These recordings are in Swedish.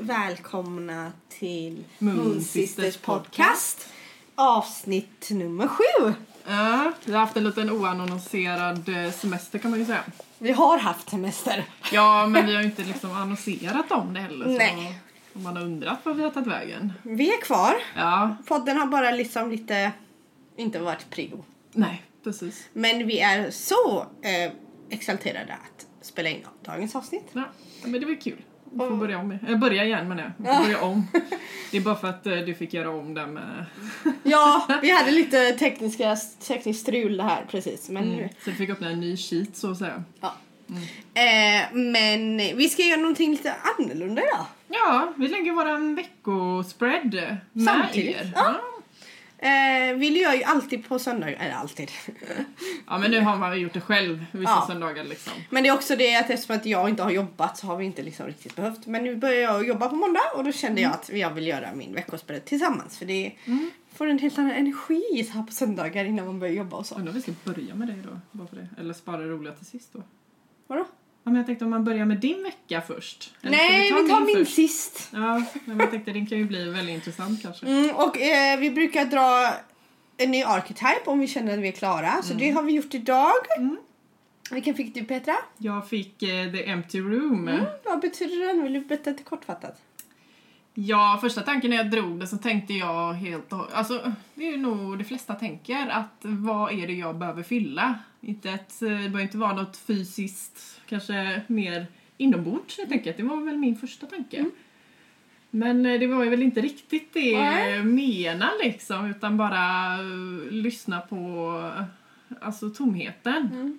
välkomna till Moon Moon Sisters Sisters podcast. Avsnitt nummer sju. Ja, vi har haft en liten oannonserad eh, semester kan man ju säga. Vi har haft semester. Ja, men vi har ju inte liksom annonserat om det heller. Så Nej. Om man har undrat vad vi har tagit vägen. Vi är kvar. Ja, Podden har bara liksom lite inte varit prio. nej, precis. Men vi är så eh, exalterade att spela in dagens avsnitt. Ja, men det var kul. Vi får börja om. Eller börja igen menar jag. Vi får börja om. Det är bara för att eh, du fick göra om det med... Ja, vi hade lite tekniska, tekniskt strul det här precis. Men nu, Mm. Så du fick öppna en ny sheet så att säga. ja. Eh, men vi ska göra någonting lite annorlunda idag. Ja, vi lägger våran veckospread med Samtidigt, er. ja. Eh, vi gör ju alltid på söndagar, eller alltid. ja, men nu har man ju gjort det själv vissa Ja. söndagar liksom. men det är också det att eftersom att jag inte har jobbat så har vi inte liksom riktigt behövt. Men nu börjar jag jobba på måndag och då kände Mm. jag att jag vill göra min veckospread tillsammans. För det får en helt annan energi så här på söndagar innan man börjar jobba och så. Undrar om vi ska börja med dig då? Bara för det. Eller spara det roliga till sist då? Vadå? Ja, men jag tänkte om man börjar med din vecka först. Eller ska Nej, ta vi tar min först? sist. Ja, men jag tänkte den kan ju bli väldigt intressant kanske. Mm, och eh, vi brukar dra en ny archetype om vi känner att vi är klara. Så det har vi gjort idag. Mm. Vilken fick du Petra? Jag fick eh, The Empty Room. Mm, vad betyder den? Vill du berätta lite kortfattat? Ja, första tanken när jag drog det så tänkte jag helt och Alltså, det är ju nog det flesta tänker att vad är det jag behöver fylla? Inte ett, eh, det behöver inte vara något fysiskt, kanske mer inombords helt enkelt. Det var väl min första tanke. Men eh, det var ju väl inte riktigt det Nej. mena liksom, utan bara eh, lyssna på eh, alltså tomheten.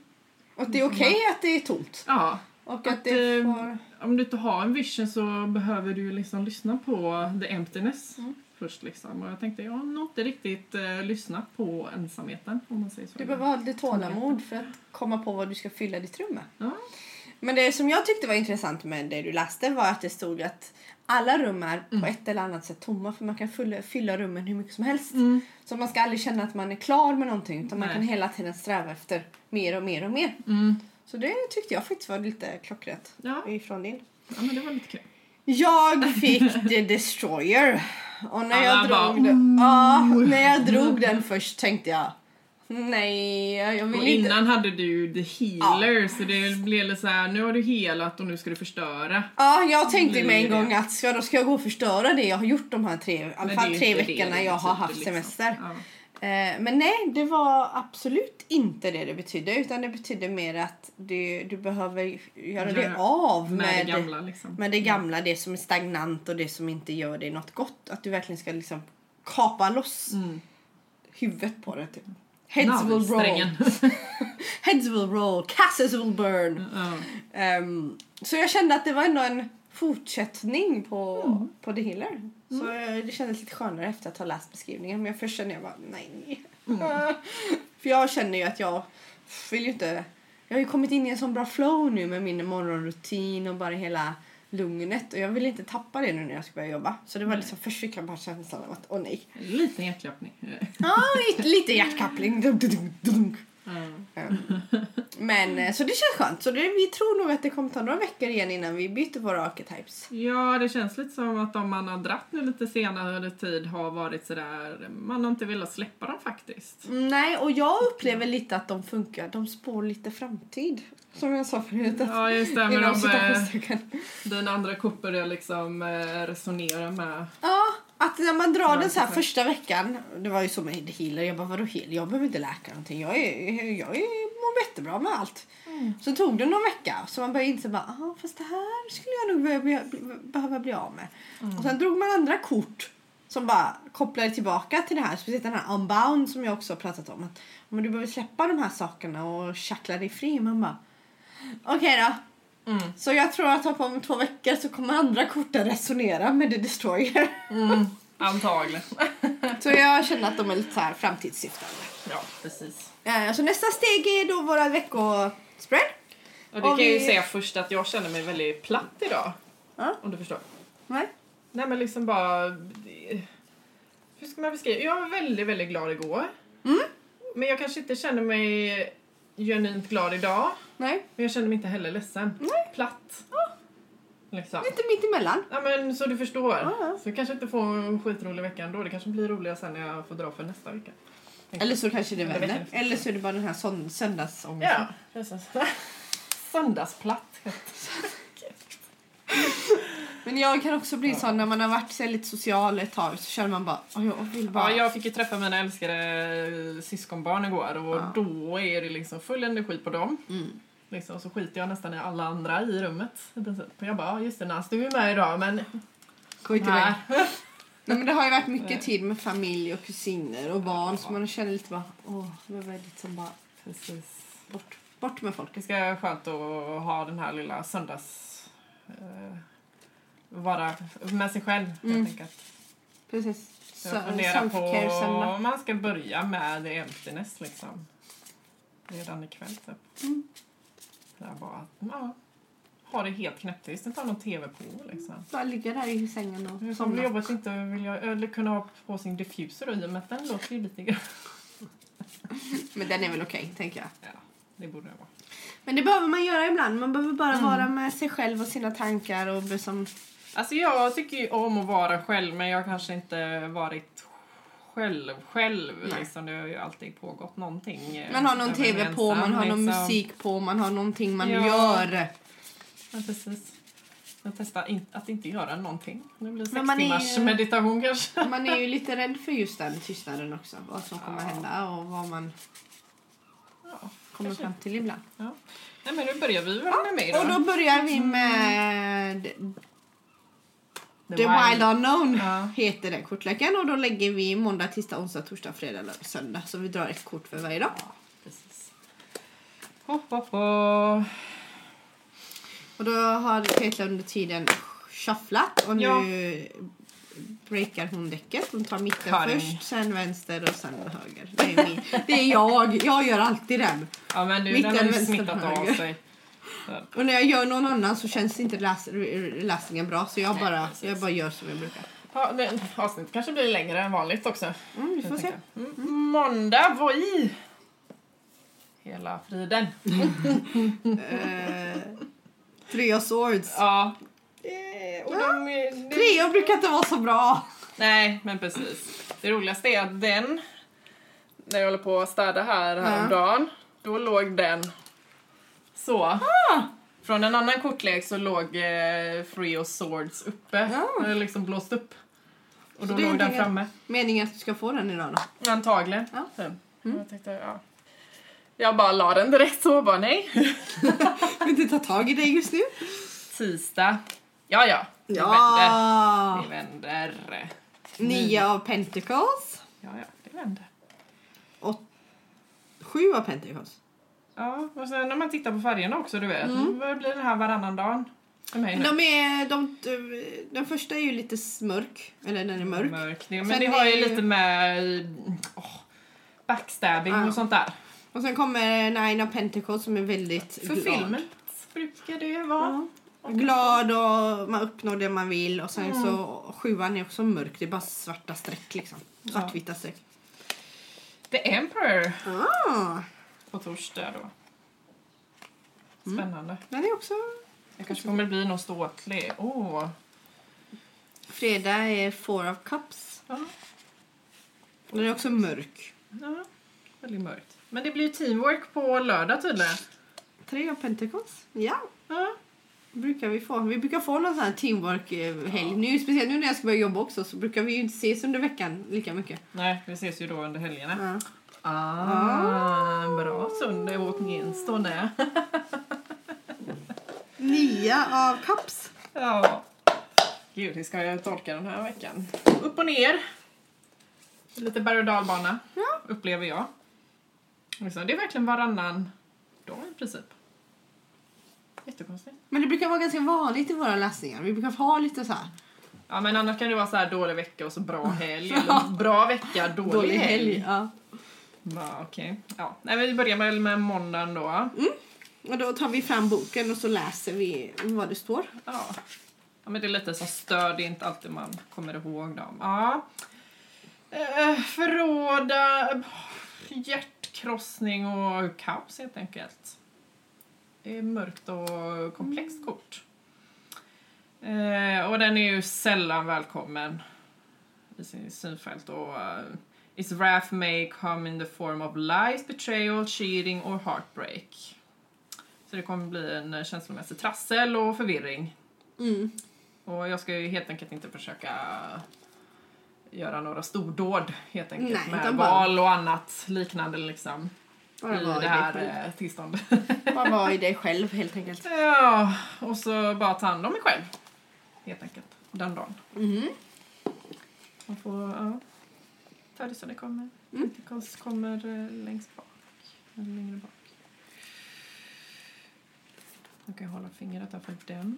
Och det är okej att det är tomt. Ja, Och Mm. Att, eh, om du inte har en vision så behöver du ju liksom lyssna på the emptiness Mm. först liksom. Och jag tänkte, jag har nog inte riktigt eh, lyssnat på ensamheten om man säger så. Du behöver ha lite tålamod för att komma på vad du ska fylla ditt rum med. Ja. Men det som jag tyckte var intressant med det du läste var att det stod att alla rum är Mm. på ett eller annat sätt tomma för man kan fylla, fylla rummen hur mycket som helst. Mm. Så man ska aldrig känna att man är klar med någonting utan man Nej. kan hela tiden sträva efter mer och mer och mer. Mm. Så det tyckte jag faktiskt var lite klockrent Ja. ifrån din. ja, men det var lite kul. Jag fick The Destroyer. Och när jag, Alla bara, drog den, ja, när jag drog den först tänkte jag nej, jag vill Och inte. innan hade du the healer så det blev lite så här, nu har du helat och nu ska du förstöra. Ja, jag tänkte Blir med en det. gång att ska, då ska jag gå och förstöra det jag har gjort de här tre, i alla Men fall det är tre inte det veckorna det jag har betyder, haft liksom. semester. Ja. Eh, Men nej, det var absolut inte det det betydde utan det betydde mer att du, du behöver göra det Göra av Med, med, det gamla liksom. med det gamla, det som är stagnant och det som inte gör dig något gott. Att du verkligen ska liksom kapa loss Mm. huvudet på det. Typ. Heads will roll, Navelsträngen. heads will roll, castles will burn. ja. Ehm, så jag kände att det var ändå en fortsättning på, på The Healer. Så eh, det kändes lite skönare efter att ha läst beskrivningen. Men jag först kände jag bara nej. För jag känner ju att jag vill ju inte... Jag har ju kommit in i en sån bra flow nu med min morgonrutin och bara hela lugnet. Och jag vill inte tappa det nu när jag ska börja jobba. Så det var liksom först fick jag bara känslan av att åh nej. En Liten hjärtklappning. Ja, lite- lite hjärtkappling. Dunk, dunk, dunk, dunk. Ja. Men eh, så det känns skönt. Så det, vi tror nog att det kommer ta några veckor igen innan vi byter våra archetypes. Ja, det känns lite som att om man har dratt nu lite senare tid har varit sådär, man har inte velat släppa dem faktiskt. Mm, Nej, och jag upplever lite att de funkar. De spår lite framtid. Som jag sa förut. Att Ja, just det, men inom de, eh, citationstecken. dina andra koppor är liksom eh, resonera med. Ja, att när man drar Ja, den så här exakt. första veckan. Det var ju så med healer. Jag bara, vadå healer? Jag behöver inte läka någonting. Jag, är, jag är, mår jättebra med allt. Så tog det någon vecka. Så man började inse bara, aha, fast det här skulle jag nog börja bli, behöva bli av med. Och sen drog man andra kort. Som bara kopplade tillbaka till det här. Speciellt den här unbound som jag också har pratat om. Att, men du behöver släppa de här sakerna och tjackla dig fri. Man bara, okej då. Mm. Så jag tror att om två veckor så kommer andra korten resonera med The Destroyer. Mm. Antagligen. Så jag känner att de är lite så här framtidssyftande. ja, precis. Eh, Så nästa steg är då våra veckospread. Och Och det kan jag ju vi- säga först att jag känner mig väldigt platt idag. Ja. Om du förstår. Nej? Nej men liksom bara... Hur ska man beskriva? Jag var väldigt, väldigt glad igår. Men jag kanske inte känner mig genuint glad idag. Nej? Men jag kände mig inte heller ledsen. Platt. Liksom. Lite mitt emellan. Ja, men så du förstår. ja. Så jag kanske inte får en skitrolig vecka ändå. Det kanske blir roligare sen när jag får dra för nästa vecka. Eller så kanske det Ja, det vet vänder. jag Eller så är det bara den här sån- söndagsångesten. Ja, precis. Söndagsplatt. Men jag kan också bli sån när man har varit så här, lite social ett tag så känner man bara, "Åh, jag vill bara... Ja, jag fick ju träffa mina älskade syskonbarn igår och Ja. då är det liksom full energi på dem. Mm. Liksom, så skiter jag nästan i alla andra i rummet. i princip. Jag bara, ja just det Nans, du är med idag men... Gå inte iväg. Nej. Nej, men det har ju varit mycket tid med familj och kusiner och barn så man känner lite bara, åh, det var liksom bara Precis. bort, bort med folk. Det ska vara skönt att ha den här lilla söndags... Eh, vara med sig själv helt Mm. enkelt. Precis. Så Sö- jag funderar self-care på söndag. om man ska börja med emptiness liksom. Redan ikväll typ. Mm. Där bara, ja, ha det helt knäpptyst, inte ha någon tv på liksom. Bara ligga där i sängen Det är och som somna. jobbet inte vill jag, eller kunna ha på sin diffuser i, men den låter ju lite grann. Men den är väl okej, tänker jag. Ja, det borde det vara. Men det behöver man göra ibland. Man behöver bara Mm. vara med sig själv och sina tankar. Och liksom, Alltså jag tycker ju om att vara själv, men jag har kanske inte varit själv själv. Nej. Liksom. Det har ju alltid pågått någonting. eh, man har någon när är tv på, ensam, man har någon liksom. musik på, man har någonting man Ja. gör. Ja, precis. Jag testar in, att inte göra någonting. Det blir sex Men man är timmars ju- meditation kanske. Man är ju lite rädd för just den tystnaden också. Vad som kommer Ja. hända och vad man Ja, kommer kanske. fram till ibland. Ja. Nej men nu börjar vi väl med mig då. Och då börjar vi Mm. med The Wild Unknown. Ja. Heter den kortleken och då lägger vi måndag, tisdag, onsdag, torsdag, fredag, lördag, söndag. Så vi drar ett kort för varje dag. Ja, precis. Ho, ho, ho. Och då har Petra under tiden shufflat och nu Ja. breakar hon däcket. Hon tar mitten Karin. först, sen vänster och sen höger. Det är, min, det är jag. Jag gör alltid den. Ja men nu, Mitten, den har ju vänster, smittat av höger. sig. Och när jag gör någon annan så känns inte läs, läsningen bra så jag bara, precis. jag bara gör som jag brukar. Ja, det, avsnittet kanske blir längre än vanligt också. Mm, vi kan får jag se. tänka. Mm. Måndag var i hela friden. Eh, Tre av swords. Ja. Eh, Och de, det- Tre jag brukar inte vara så bra. Nej, men precis. Det roligaste är att den, när jag håller på att städa här häromdagen, då låg den så. Ah. Från en annan kortlek så låg eh, Free of Swords uppe. Ja. Den är liksom blåst upp. Och Så då det är låg den antingen- framme. Meningen att du ska få den idag då. Antagligen. Ja. Mm. Så. Jag, tänkte, ja. jag bara la den direkt så, bara nej. Jag vill inte ta tag i dig just nu. Tisdag. Ja, ja. Det vänder. Ja! Det vänder. Nio av pentacles. Ja, ja. Det vänder. Sju av pentacles. Ja, och sen när man tittar på färgerna också, du vet. Vad blir den här varannan dagen? För mig nu. De är, de, eh, den första är ju lite smörk, eller den är mörk. Mörk. Det, men Sen det har är ju ju- lite med åh, backstabbing Ja. och sånt där. Och sen kommer Nine of Pentacles som är väldigt För glad. filmen brukar det ju vara. Ja. Glad och man uppnår det man vill. Och sen så sjuan är också mörk, det är bara svarta streck liksom. Svartvita streck. The Emperor Ah, på torsdag då. Spännande. den är också... Jag kanske kommer bli någon ståtlig. Åh! Fredag är Four of Cups. Ja. Den är också mörk. ja, väldigt mörkt. Men det blir ju teamwork på lördag tydligen. Tre av Pentacles. Ja. Ja. brukar vi få. Vi brukar få någon sån här teamwork-helg. Nu, speciellt nu när jag ska börja jobba också så brukar vi ju inte ses under veckan lika mycket. Nej, vi ses ju då under helgerna. Ja. Ah, bra Sunne åtminstone. Nia av Cups. Ja. Gud, hur ska jag tolka den här veckan? Upp och ner. Lite berg och dalbana, Ja. upplever jag. Liksom, Det är verkligen varannan dag i princip. Jättekonstigt. Men det brukar vara ganska vanligt i våra läsningar. Vi brukar ha lite så här. Ja, men annars kan det vara så här dålig vecka och så bra helg. Eller bra vecka, dålig, helg. Ja. Va, okej. Ja. Nej, men vi börjar väl med måndagen då. Och då tar vi fram boken och så läser vi vad det står. Ja. ja, men det är lite som stöd, det är inte alltid man kommer ihåg dem. Ja. Eh, förråda, eh, hjärtkrossning och kaos helt enkelt. Det är mörkt och komplext kort. Eh, och den är ju sällan välkommen i sin synfält. Och, eh, Its wrath may come in the form of lies, betrayal, cheating or heartbreak. Så det kommer bli en eh, känslomässig trassel och förvirring. Mm. Och jag ska ju helt enkelt inte försöka göra några stordåd helt enkelt Nej, med utan bara- val och annat liknande liksom Bara i vara det i dig själv. här eh, tillståndet. Bara vara i dig själv helt enkelt. Ja, och så bara ta hand om mig själv. Helt enkelt. Den dagen. Mhm. Man får ja, ta det som det kommer. Mm. Det kons- kommer eh, längst bak. Eller längre bak. Nu kan jag hålla fingret där för den.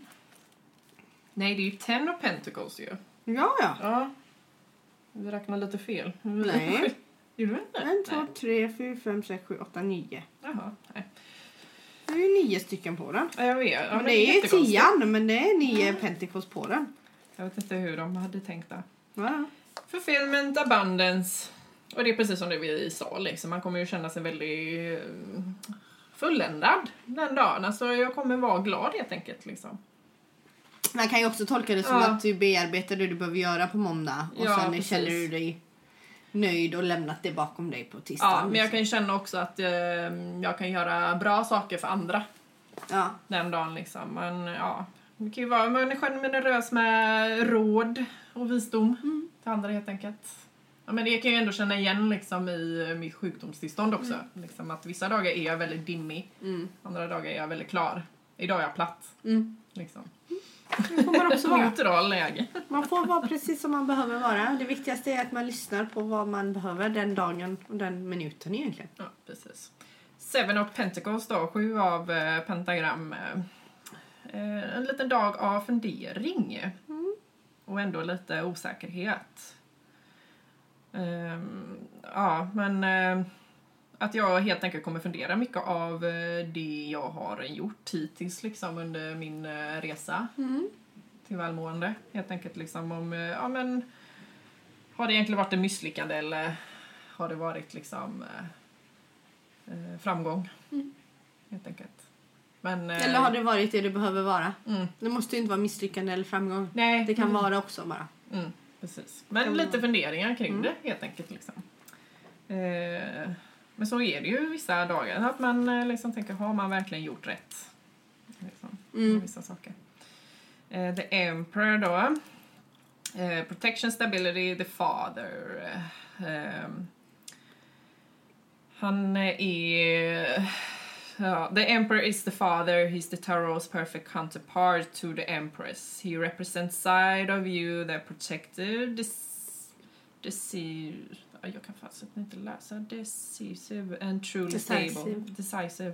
Nej, det är ju Ten of Pentacles ju. Ja, ja. Ja. Vi räknar lite fel. Nej. Gjorde vi inte? En, Nej. två, tre, fyra, fem, sex, sju, åtta, nio. Jaha, nej. Det är ju nio stycken på den. Ja, Jag vet. Ja, men men det är ju jättekonstigt. tian, men det är nio pentikos på den. Jag vet inte hur de hade tänkt där. Ja. Fulfillment, abundance. Och det är precis som det vi sa, liksom. man kommer ju känna sig väldigt eh, fulländad den dagen. Alltså, jag kommer vara glad helt enkelt. Liksom. Man kan ju också tolka det som Ja. att du bearbetar det du behöver göra på måndag och Ja, sen precis. känner du dig nöjd och lämnat det bakom dig på liksom. tisdag. Ja, men jag kan ju känna också att eh, jag kan göra bra saker för andra ja. den dagen. Liksom. Men, ja, det kan ju vara man är generös med råd och visdom till andra helt enkelt. Ja, men det kan jag ändå känna igen liksom, i mitt sjukdomstillstånd också. Liksom, att vissa dagar är jag väldigt dimmig. Mm. Andra dagar är jag väldigt klar. Idag är jag platt. Mm. Liksom. Det får man också vara. Neutral läge. Man får vara precis som man behöver vara. Det viktigaste är att man lyssnar på vad man behöver den dagen och den minuten egentligen. Ja, precis. Seven of Pentacles då, sju av eh, pentagram. Eh, eh, en liten dag av fundering. Mm. Och ändå lite osäkerhet. Ehm, ja, men eh, att jag helt enkelt kommer fundera mycket av eh, det jag har gjort hittills liksom under min eh, resa. Mm. till välmående. Helt enkelt liksom om, eh, ja men har det egentligen varit ett misslyckande eller har det varit liksom eh, eh, framgång? Helt enkelt. Men, eh, Mm. Eller har det varit det du behöver vara? Mm. Det måste ju inte vara misslyckande eller framgång. Nej, Det kan mm, vara också bara. Mm, precis. Men kan Mm. lite funderingar kring det helt enkelt liksom. Eh, men så är det ju vissa dagar att man eh, liksom tänker, har man verkligen gjort rätt? Liksom. med Mm. vissa saker. Eh, the Emperor då. Eh, protection, stability, the father. Eh, ehm, han är... ja, the Emperor is the father, he's the Tarot's perfect counterpart to the Empress. He represents side of you that protected, dece- deceive... ja, Jag kan faktiskt inte läsa. Decisive and truly stable. Decisive. Decisive.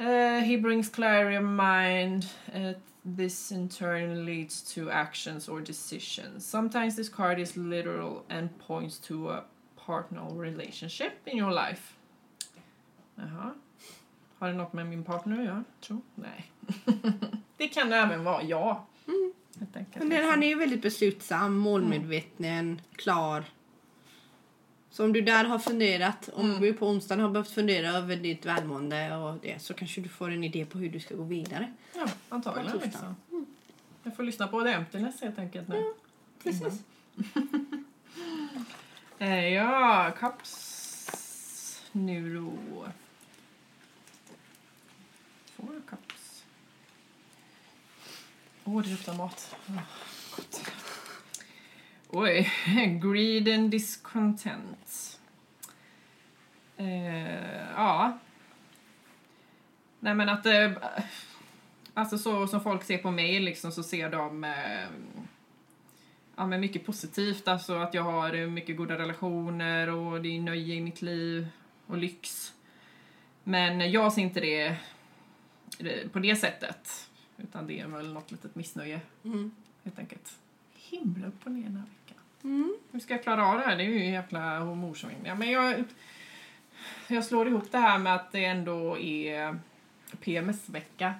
Uh, he brings clarity of mind. Uh, this in turn leads to actions or decisions. Sometimes this card is literal and points to a partner or relationship in your life. Jaha. Har det något med min partner att göra? Tror? Nej. det kan även vara jag. Helt enkelt. Men den, han är ju väldigt beslutsam, målmedveten, klar. Så om du där har funderat, om Mm. du på onsdagen har behövt fundera över ditt välmående och det, så kanske du får en idé på hur du ska gå vidare. Ja, antagligen Vad liksom. Jag får lyssna på The Emptiness helt enkelt nu. Precis. Eh, ja, cups nu då. Four cups. Åh, det luktar mat. Åh, gott. Oj, greed and discontent. Eh, ja. Nej men att... Eh, alltså så som folk ser på mig liksom så ser de... Eh, ja, men mycket positivt. Alltså att jag har eh, mycket goda relationer och det är nöje i mitt liv och lyx. Men jag ser inte det eh, på det sättet. Utan det är väl något litet missnöje Mm. helt enkelt. Himla upp och ner den här veckan. Mm. Hur ska jag klara av det här? Det är ju en jävla hormonsvängning. Ja, men jag, jag slår ihop det här med att det ändå är PMS-vecka.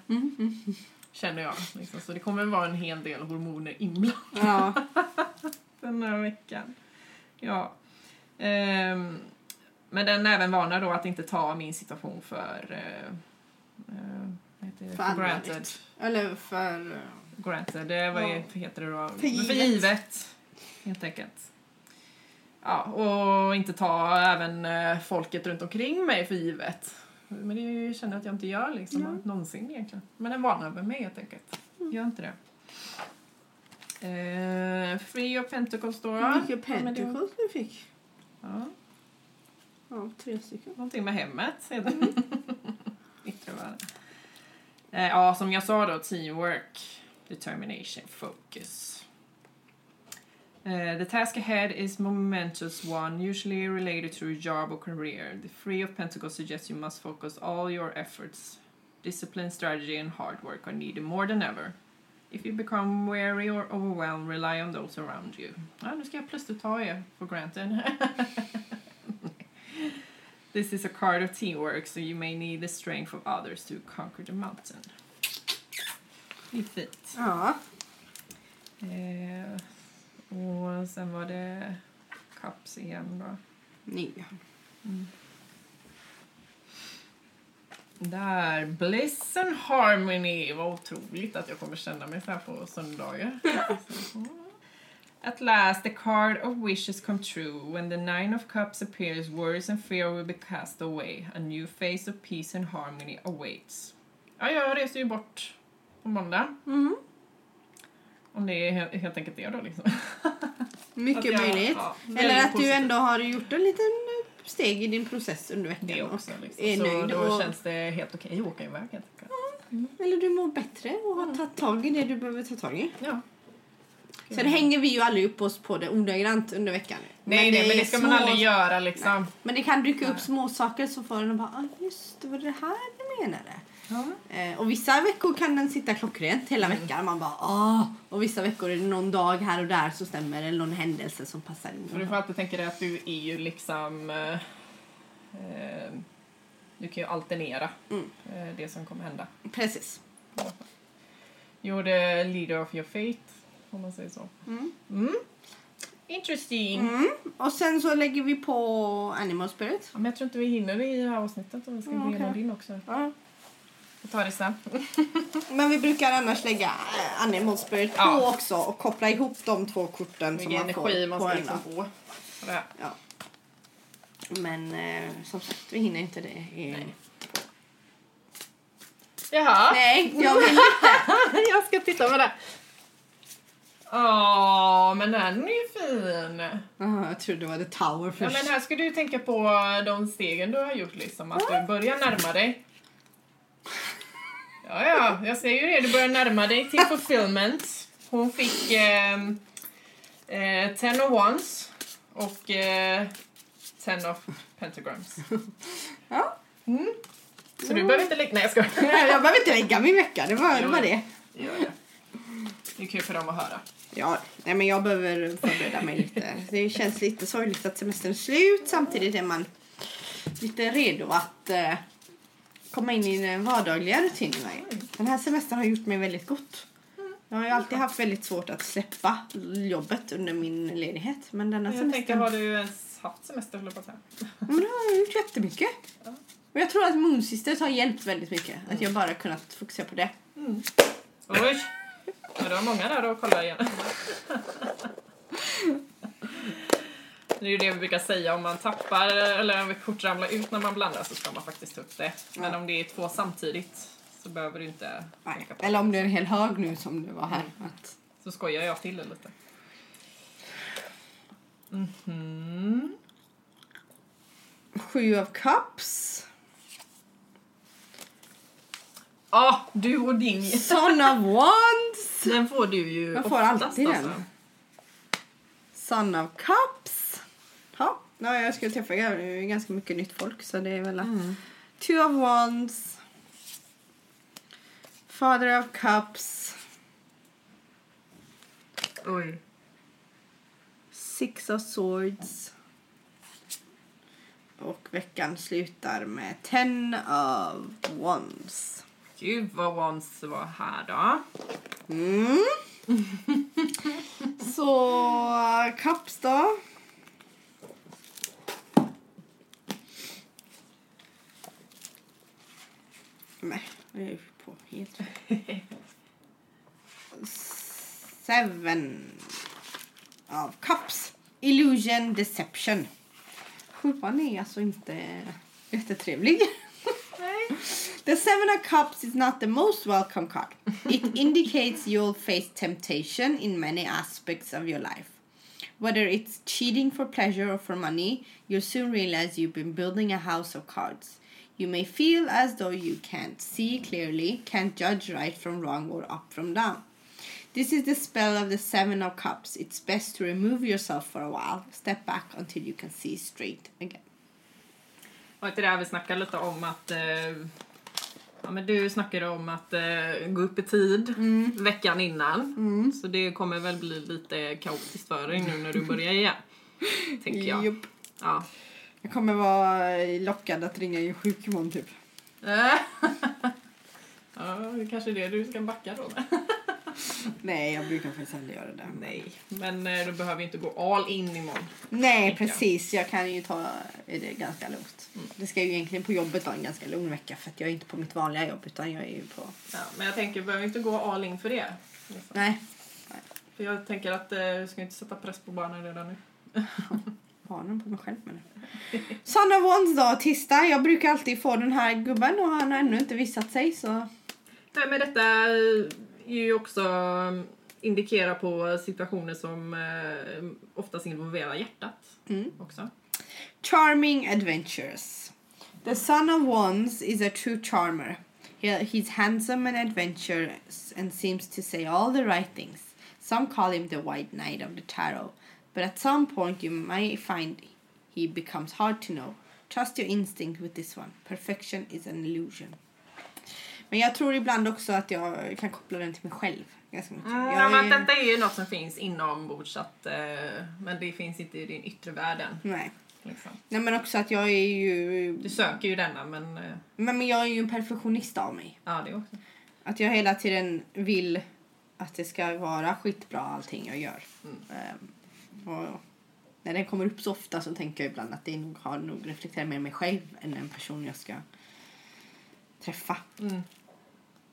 Känner jag. Liksom. Så det kommer vara en hel del hormoner inblandade Ja. den här veckan. Ja. Ehm, men den även varnar då att inte ta min situation för... eh, eh, vad heter det? För allvarligt. Eller för... eh, granted, eh, vad är, Ja. heter det då? Men För givet. givet. Helt enkelt. Ja, och inte ta även eh, folket runt omkring mig för givet. Men det känner jag att jag inte gör liksom, Ja. Mm. någonsin egentligen. Men en vana över mig helt enkelt. Gör inte det. Eh, Free of Pentecost då. Mycket Ja, men det- pentecost vi fick. Ja, Ja, tre stycken. någonting med hemmet. är det. Yttre världen. Eh, ja, som jag sa då, teamwork, determination, focus. Eh, the task ahead is momentous one, usually related to your job or career. The Three of Pentacles suggests you must focus all your efforts. Discipline, strategy, and hard work are needed more than ever. If you become weary or overwhelmed, rely on those around you. Ja, nu ska jag plötsligt ta er for granted. This is a card of teamwork, so you may need the strength of others to conquer the mountain. Det är fint. Ja. Eh, och sen var det cups igen då. Nej. Där, bliss and harmony. Vad otroligt att jag kommer känna mig så här på söndagar. At last the card of wishes come true. When the nine of cups appears, worries and fear will be cast away. A new phase of peace and harmony awaits. Ja, jag reser ju bort på måndag. Mm. Om det är he- helt enkelt det då liksom. Mycket Att jag- möjligt. ja, Eller väldigt att du positivt. ändå har gjort en liten eh, steg i din process under veckan. Det och- också liksom. är Så nöjd då och- känns det helt okej att åka iväg helt enkelt. Eller du mår bättre och har tagit tag i det du behöver ta tag i. Ja. Sen hänger vi ju aldrig upp oss på det ordagrant under veckan. Nej, nej, men är det ska små- man aldrig göra liksom. Men det kan dyka upp Nej. små saker så får den bara, ah, just det var det här du menade. Ja. Eh, och vissa veckor kan den sitta klockrent hela Mm. veckan. Man bara, ah. Och vissa veckor är det någon dag här och där som stämmer eller någon händelse som passar För du in. får alltid tänka dig att du är ju liksom... eh, eh, Du kan ju alternera Mm. eh, det som kommer hända. Precis. You're the leader of your fate, om man säger så. Mm. Mm. Interesting! Mm. Och sen så lägger vi på Animal Spirit. Ja, men jag tror inte vi hinner det i det här avsnittet om vi ska Ja, gå igenom Mm, okej. din också. Ja. Vi tar det sen. Men vi brukar annars lägga eh, Animal Spirit på Ja. också och koppla ihop de två korten som Vilken man får energi man på ska en liksom dag. få. Sådär. Ja. Men eh, som sagt, vi hinner inte det. i- Nej. Jaha, Nej, jag vill inte. jag ska titta på det. Åh, men den är ju fin! Ah, jag trodde det var The Tower Ja, först. men här ska du tänka på de stegen du har gjort, liksom, att du börjar närma dig. Ja, ja, jag ser ju det. Du börjar närma dig till fulfillment. Hon fick eh, eh, ten of wands och eh, ten of pentagrams. Ja. Mm. Så du behöver inte lägga... Nej, jag skojar. Nej, jag behöver inte lägga min vecka, det var det. Var det. Gör det. Det är kul för dem att höra. Ja, nej, men jag behöver förbereda mig lite. Det känns lite sorgligt att semestern är slut. Samtidigt är man lite redo att eh, komma in i den vardagliga rutinen. Den här semestern har gjort mig väldigt gott. Jag har ju alltid haft väldigt svårt att släppa jobbet under min ledighet. Men denna Jag tänkte, semestern... har du ens haft semester, höll jag på att säga? Ja, Men det har jag gjort jättemycket. Ja. Och jag tror att Moon Sisters har hjälpt väldigt mycket. Att jag bara kunnat fokusera på det. Oj! Ja, det var många där att kolla igen. Det är ju det vi brukar säga, om man tappar eller om ett kort ramlar ut när man blandar så ska man faktiskt ta upp det. Men Ja. om det är två samtidigt så behöver du inte Nej. tänka på det. Eller om det är en hel hög nu som det var här. Att... Så skojar jag till det lite. Mhm. Sju av cups. Ah, du och din! Son of Wands. Den får du ju Jag får oftast, alltid den. alltså. Son of Cups. Ja, ja, jag skulle träffa g- ganska mycket nytt folk så det är väl... Two of Wands. Father of Cups. Oj. Six of Swords. Och veckan slutar med Ten of Wands. Gud vad Wands var här då. Mm. Så Cups då. Nej, nu är jag ju på helt fel. Seven of Cups. Illusion Deception. Sjuan är alltså inte jättetrevlig. Nej. The Seven of Cups is not the most welcome card. It indicates you'll face temptation in many aspects of your life. Whether it's cheating for pleasure or for money, you'll soon realize you've been building a house of cards. You may feel as though you can't see clearly, can't judge right from wrong or up from down. This is the spell of the Seven of Cups. It's best to remove yourself for a while, step back until you can see straight again. Och inte det här vi snackade lite om att... Eh, ja, men du snackade om att eh, gå upp i tid veckan innan. Så det kommer väl bli lite kaotiskt för dig nu när du börjar igen. tänker jag. Jupp. Ja. Jag kommer vara lockad att ringa in sjuk imorgon typ. ja, det kanske är det du ska backa då. Nej, jag brukar faktiskt aldrig göra det. Nej, men eh, du behöver inte gå all in imorgon. Nej, Tänker jag. precis. Jag kan ju ta det ganska lugnt. Det ska ju egentligen på jobbet vara en ganska lugn vecka för att jag är inte på mitt vanliga jobb utan jag är ju på... Ja, men jag tänker, du behöver inte gå all in för det. Liksom. Nej, För jag tänker att eh, du ska inte sätta press på barnen redan nu. barnen på mig själv men... Son of Wands då, tisdag. Jag brukar alltid få den här gubben och han har ännu inte visat sig så... Nej, men detta är ju också mm, indikerar på situationer som eh, oftast involverar hjärtat Mm. också. Charming Adventures. The Son of Wands is a true charmer. He, he's handsome and adventurous and seems to say all the right things. Some call him the White Knight of the Tarot, but at some point you might find he becomes hard to know. Trust your instinct with this one. Perfection is an illusion. Men jag tror ibland också att jag kan koppla den till mig själv. Ganska mycket. Mm, jag men är, detta är ju något som finns inombords, att, eh, men det finns inte i din yttre världen. nej. Liksom. nej, men också att jag är ju... Du söker ju denna, men eh, Men, men jag är ju en perfektionist av mig. ja, det också. Att jag hela tiden vill att det ska vara skitbra allting jag gör. Mm. Ehm, och när den kommer upp så ofta så tänker jag ibland att det nog har nog reflekterat mer mig själv än en person jag ska träffa. Mm.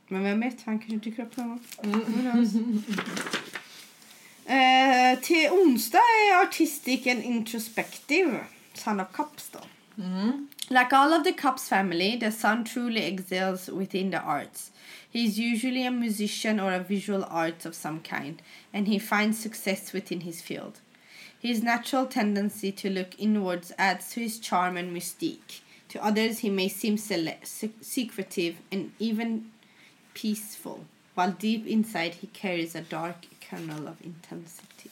Men vem vet, han kanske dyker upp någon gång. Who knows? Eh, till onsdag är Artistic and Introspective, Son of Cups då. Like all of the Cups family, the son truly excels within the arts. He is usually a musician or a visual arts of some kind, and he finds success within his field. His natural tendency to look inwards adds to his charm and mystique. To others, he may seem sele- sec- secretive and even peaceful, while deep inside he carries a dark kernel of intensity.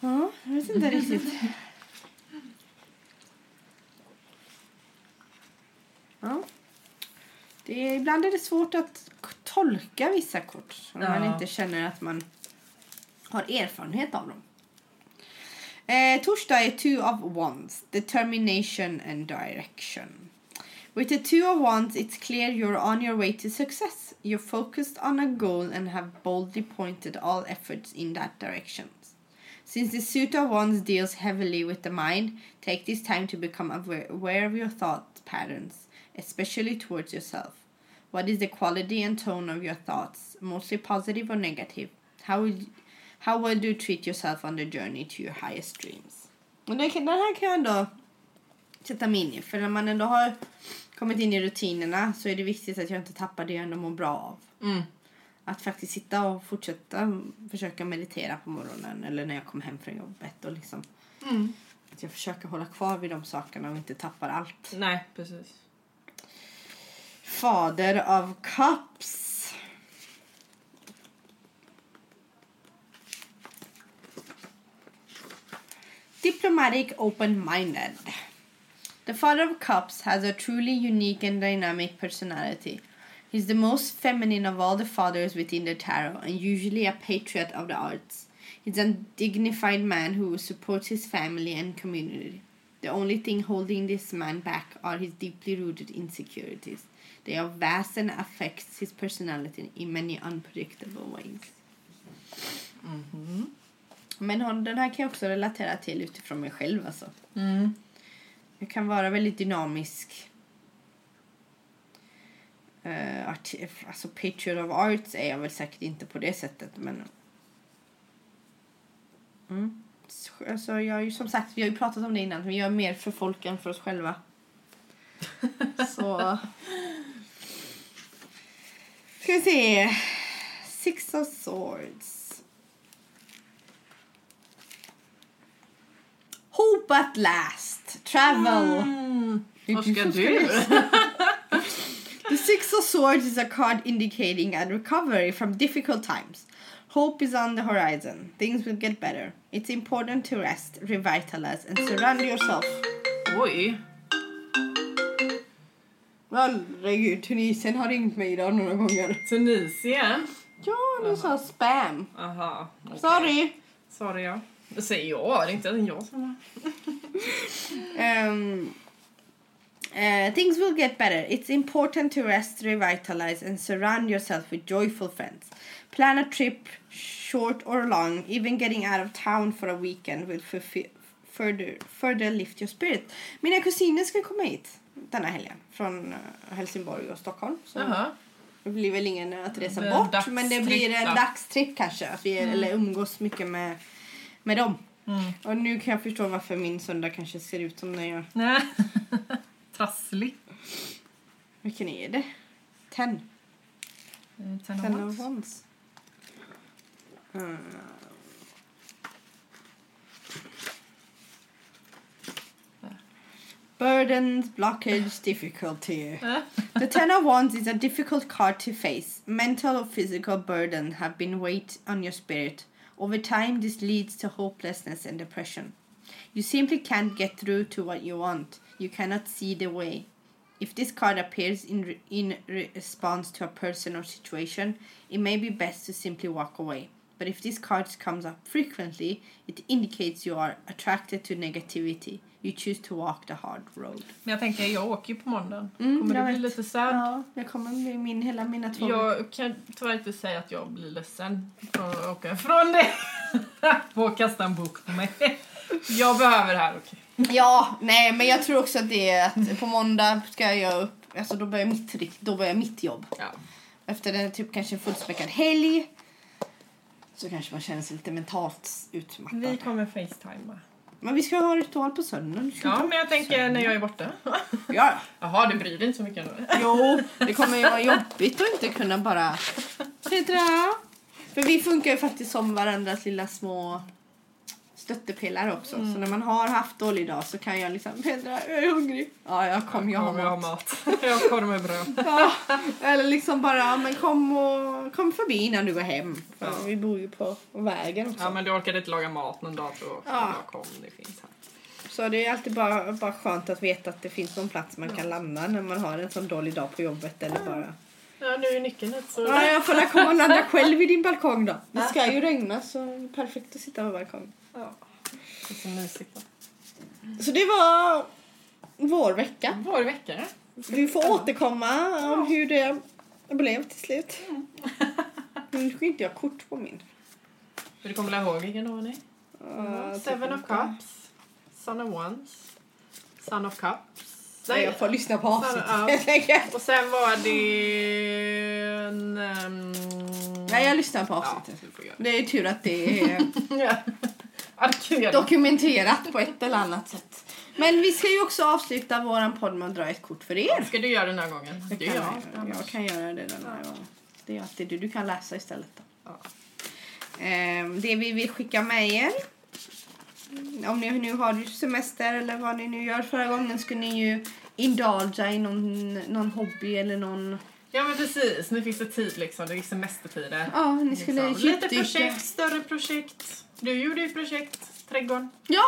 Ja, jag vet inte riktigt. Ja. Det är, ibland är det svårt att k- tolka vissa kort om man Ja. inte känner att man har erfarenhet av dem. Eh, torsdag är Two of Wands, Determination and Direction. With the Two of Wands, it's clear you're on your way to success. You're focused on a goal and have boldly pointed all efforts in that direction. Since the Suit of Wands deals heavily with the mind, take this time to become aware, aware of your thought patterns, especially towards yourself. What is the quality and tone of your thoughts, mostly positive or negative? How will, how well do you treat yourself on the journey to your highest dreams? Men den, kan- den här kan jag ändå sätta mig in i, för när man ändå har kommit in i rutinerna så är det viktigt att jag inte tappar det jag ändå mår bra av. Mm. Att faktiskt sitta och fortsätta försöka meditera på morgonen eller när jag kommer hem från jobbet. Och liksom, Mm. att jag försöker hålla kvar vid de sakerna och inte tappar allt. Nej, precis. Fader av Cups. Diplomatic open-minded. The Father of Cups has a truly unique and dynamic personality. He's the most feminine of all the fathers within the tarot and usually a patriot of the arts. He's a dignified man who supports his family and community. The only thing holding this man back are his deeply rooted insecurities. They are vast and affects his personality in many unpredictable ways. Men hon- den här kan jag också relatera till utifrån mig själv alltså. Jag kan vara väldigt dynamisk. eh, arti- alltså picture of arts är jag väl säkert inte på det sättet men... Mm. Så- Alltså jag har ju som sagt, vi har ju pratat om det innan, vi gör mer för folk än för oss själva. Så... Ska vi se. Six of swords. Hope at last. Travel. Mm. Det är Vad ska som du? lyssna. The Six of Swords is a card indicating a recovery from difficult times. Hope is on the horizon. Things will get better. It's important to rest, revitalize, and surround yourself. Oj. Herregud, Tunisien har ringt mig idag några gånger. Tunisien. Ja, de sa spam. Aha. okej. Sorry. Sorry, ja. Det säger jag, det är inte jag som har... Um, uh, things will get better. It's important to rest, revitalize, and surround yourself with joyful friends. Plan a trip, short or long. Even getting out of town for a weekend will fulfi- further, further lift your spirit. Mina kusiner ska komma hit denna helgen från eh, Helsingborg och Stockholm. Så Jaha. det blir väl ingen uh, att resa Det är en bort, men det dagstripp, blir en va? dagstripp kanske. Att vi eller umgås mycket med, med dem. Mm. Och nu kan jag förstå varför min söndag kanske ser ut som den gör. Nej. Trasslig. Vilken är det? Ten. Eh, Ten of Ten of Wands. Wands. Mm. Burdens, blockage, difficulty. Eh, The Ten of Wands is a difficult card to face. Mental or physical burden have been weight on your spirit. Over time, this leads to hopelessness and depression. You simply can't get through to what you want. You cannot see the way. If this card appears in, re- in re- response to a person or situation, it may be best to simply walk away. But if this card comes up frequently, it indicates you are attracted to negativity. You choose to walk the hard road. Men jag tänker, jag åker ju på måndagen. Mm, Kommer jag du bli vet. lite sörd? Ja, jag kommer bli min, hela mina två Jag kan tyvärr inte säga att jag blir ledsen från att åka från dig. På att kasta en bok på mig. Jag behöver det här, okej. Ja, nej men jag tror också att det är att på måndag ska jag upp, alltså då börjar mitt, rikt- då börjar mitt jobb. Ja. Efter en typ kanske en fullspäckad helg så kanske man känner sig lite mentalt utmattad. Vi kommer facetima. Men vi ska ha ritual på söndagen. ska vi Ja, inte? men jag tänker när jag är borta. ja. Jaha, du bryr dig inte så mycket ändå. Jo, det kommer ju vara jobbigt att inte kunna bara... Tja, För vi funkar ju faktiskt som varandras lilla små stöttepelare också. Mm. Så när man har haft dålig dag så kan jag liksom Petra, jag är hungrig. Ja, jag kom, jag har Kommer jag har mat. mat. Jag har korv med bröd. Ja, eller liksom bara, ja, men kom, och, kom förbi innan du går hem. För Ja. Vi bor ju på vägen också. Ja, men du orkade inte laga mat någon dag tror jag. också. Ja. Jag kom, det finns här. Så det är alltid bara, bara skönt att veta att det finns någon plats man kan landa när man har en sån dålig dag på jobbet. Eller bara... Ja, nu är nyckeln hit så... Ja, jag får väl komma och landa själv i din balkong då. Det ska ju regna så det är perfekt att sitta på balkongen. Ja. Det är så mysigt. Så det var vår vecka. Vår vecka. Vi får återkomma om hur det blev till slut. Mm. Nu ska inte jag kort på min. För du kommer väl ihåg vilken ordning? Uh, Mm, Seven of Cups, Son of Wands, Son of Cups. Nej, jag får lyssna på avsnittet Ja. helt enkelt. Och sen var det... En, ehm, Nej, jag lyssnar på ja, avsnittet. du får göra Det är tur att det är det. Arkivera. dokumenterat på ett eller annat sätt. Men vi ska ju också avsluta våran podd med att dra ett kort för er. Ska du göra den här gången? Det kan gör jag, jag. jag kan göra det den här gången. Det är alltid du. Du kan läsa istället. Då. Ja. Ehm, det vi vill skicka med er. Om ni nu har semester eller vad ni nu gör. Förra gången skulle ni ju indulga i någon, någon hobby eller någon... Ja men precis, nu finns det tid liksom, det är semestertider. Ja, ni skulle liksom. Lite djupdyka. projekt, större projekt. Du gjorde ju ett projekt, trädgården. Ja,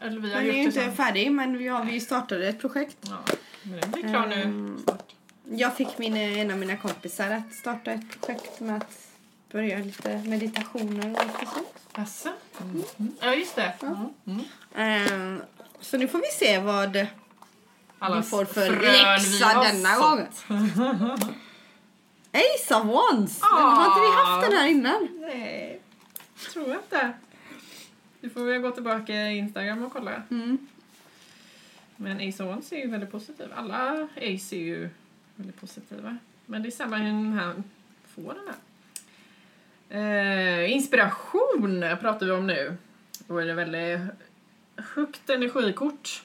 Eller vi den har är gjort ju det inte sen. färdig men vi, har, vi startade ett projekt. Ja, men den blir klar nu Ehm, snart. Jag fick min, en av mina kompisar att starta ett projekt med att börja lite meditationer och lite sånt. Jaså? Mm. Ja just det. Mm. Mm. Ehm, så nu får vi se vad alla vi får för frön läxa vi har denna sått. gången. Ace of Wands! Men Ah. Har inte vi haft den här innan? Nej, tror jag inte. Du får väl gå tillbaka i Instagram och kolla. Mm. Men Ace of Wands är ju väldigt positiv. Alla Ace är ju väldigt positiva. Men det är sällan den här får den här. Eh, inspiration pratar vi om nu. Då är det väldigt högt energikort.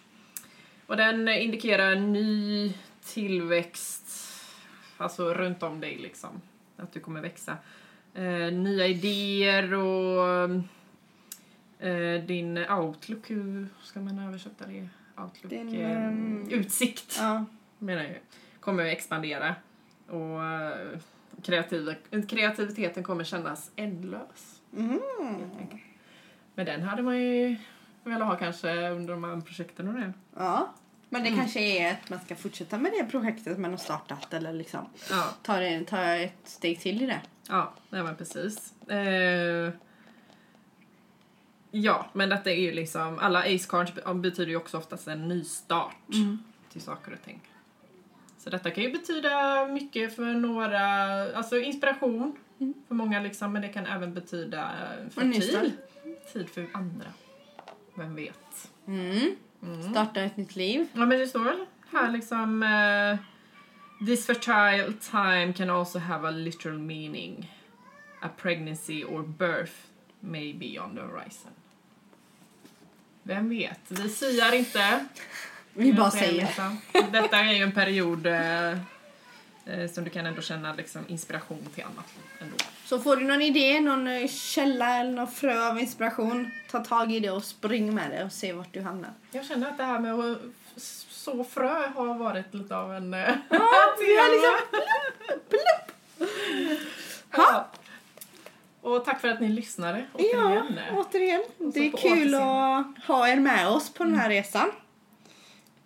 Och den indikerar ny tillväxt, alltså runt om dig liksom. Att du kommer växa. Eh, nya idéer och eh, din outlook, hur ska man översätta det? Outlook? Din, eh, ehm, utsikt Ja. menar jag kommer att expandera och eh, kreativ, kreativiteten kommer kännas ändlös. Mm. helt enkelt. Men den hade man ju velat ha kanske under de här projekten och det. ja. Men det Mm. kanske är att man ska fortsätta med det projektet man har startat eller liksom Ja, ta, det, ta ett steg till i det. ja nej men precis. Eh, ja, men detta är ju liksom, alla ace cards betyder ju också oftast en nystart Mm. till saker och ting. Så detta kan ju betyda mycket för några, alltså inspiration för många liksom, men det kan även betyda eh, för En Mm. ny start. tid. Tid för andra. Vem vet? Mm. Starta ett nytt liv. Ja men det står väl Mm. här liksom eh, This fertile time can also have a literal meaning. A pregnancy or birth may be on the horizon. Vem vet? Vi siar inte. Vi bara Jag säger. nästan. Detta är ju en period eh, eh, som du kan ändå känna liksom, inspiration till annat. Ändå. Så får du någon idé, någon eh, källa eller någon frö av inspiration, ta tag i det och spring med det och se vart du hamnar. Jag känner att det här med att så frö har varit lite av en... eh, vi har liksom ja. Och tack för att ni lyssnade. Ja, återigen. återigen. Det är på kul återseende. Mm. att ha er med oss på den här resan.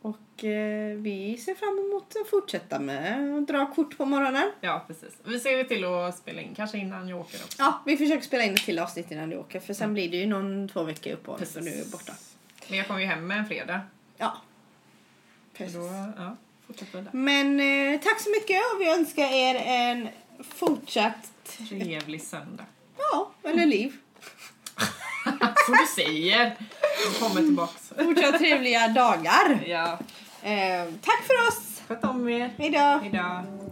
Och eh, vi ser fram emot att fortsätta med att dra kort på morgonen. Ja, precis. Vi ser ju till att spela in, kanske innan jag åker också. Ja, vi försöker spela in ett till avsnitt innan du åker för Mm. sen blir det ju någon två veckor uppehåll och nu är jag borta. Men jag kommer ju hem en fredag. Ja. Så Precis. då, ja, fortsätter vi där. Men eh, tack så mycket och vi önskar er en fortsatt, Trevlig söndag. ja, Mm. eller liv. Som du säger! Jag kommer tillbaks. Fortsatt trevliga dagar. Ja. Eh, tack för oss. Sköt om er. Hejdå. Hejdå.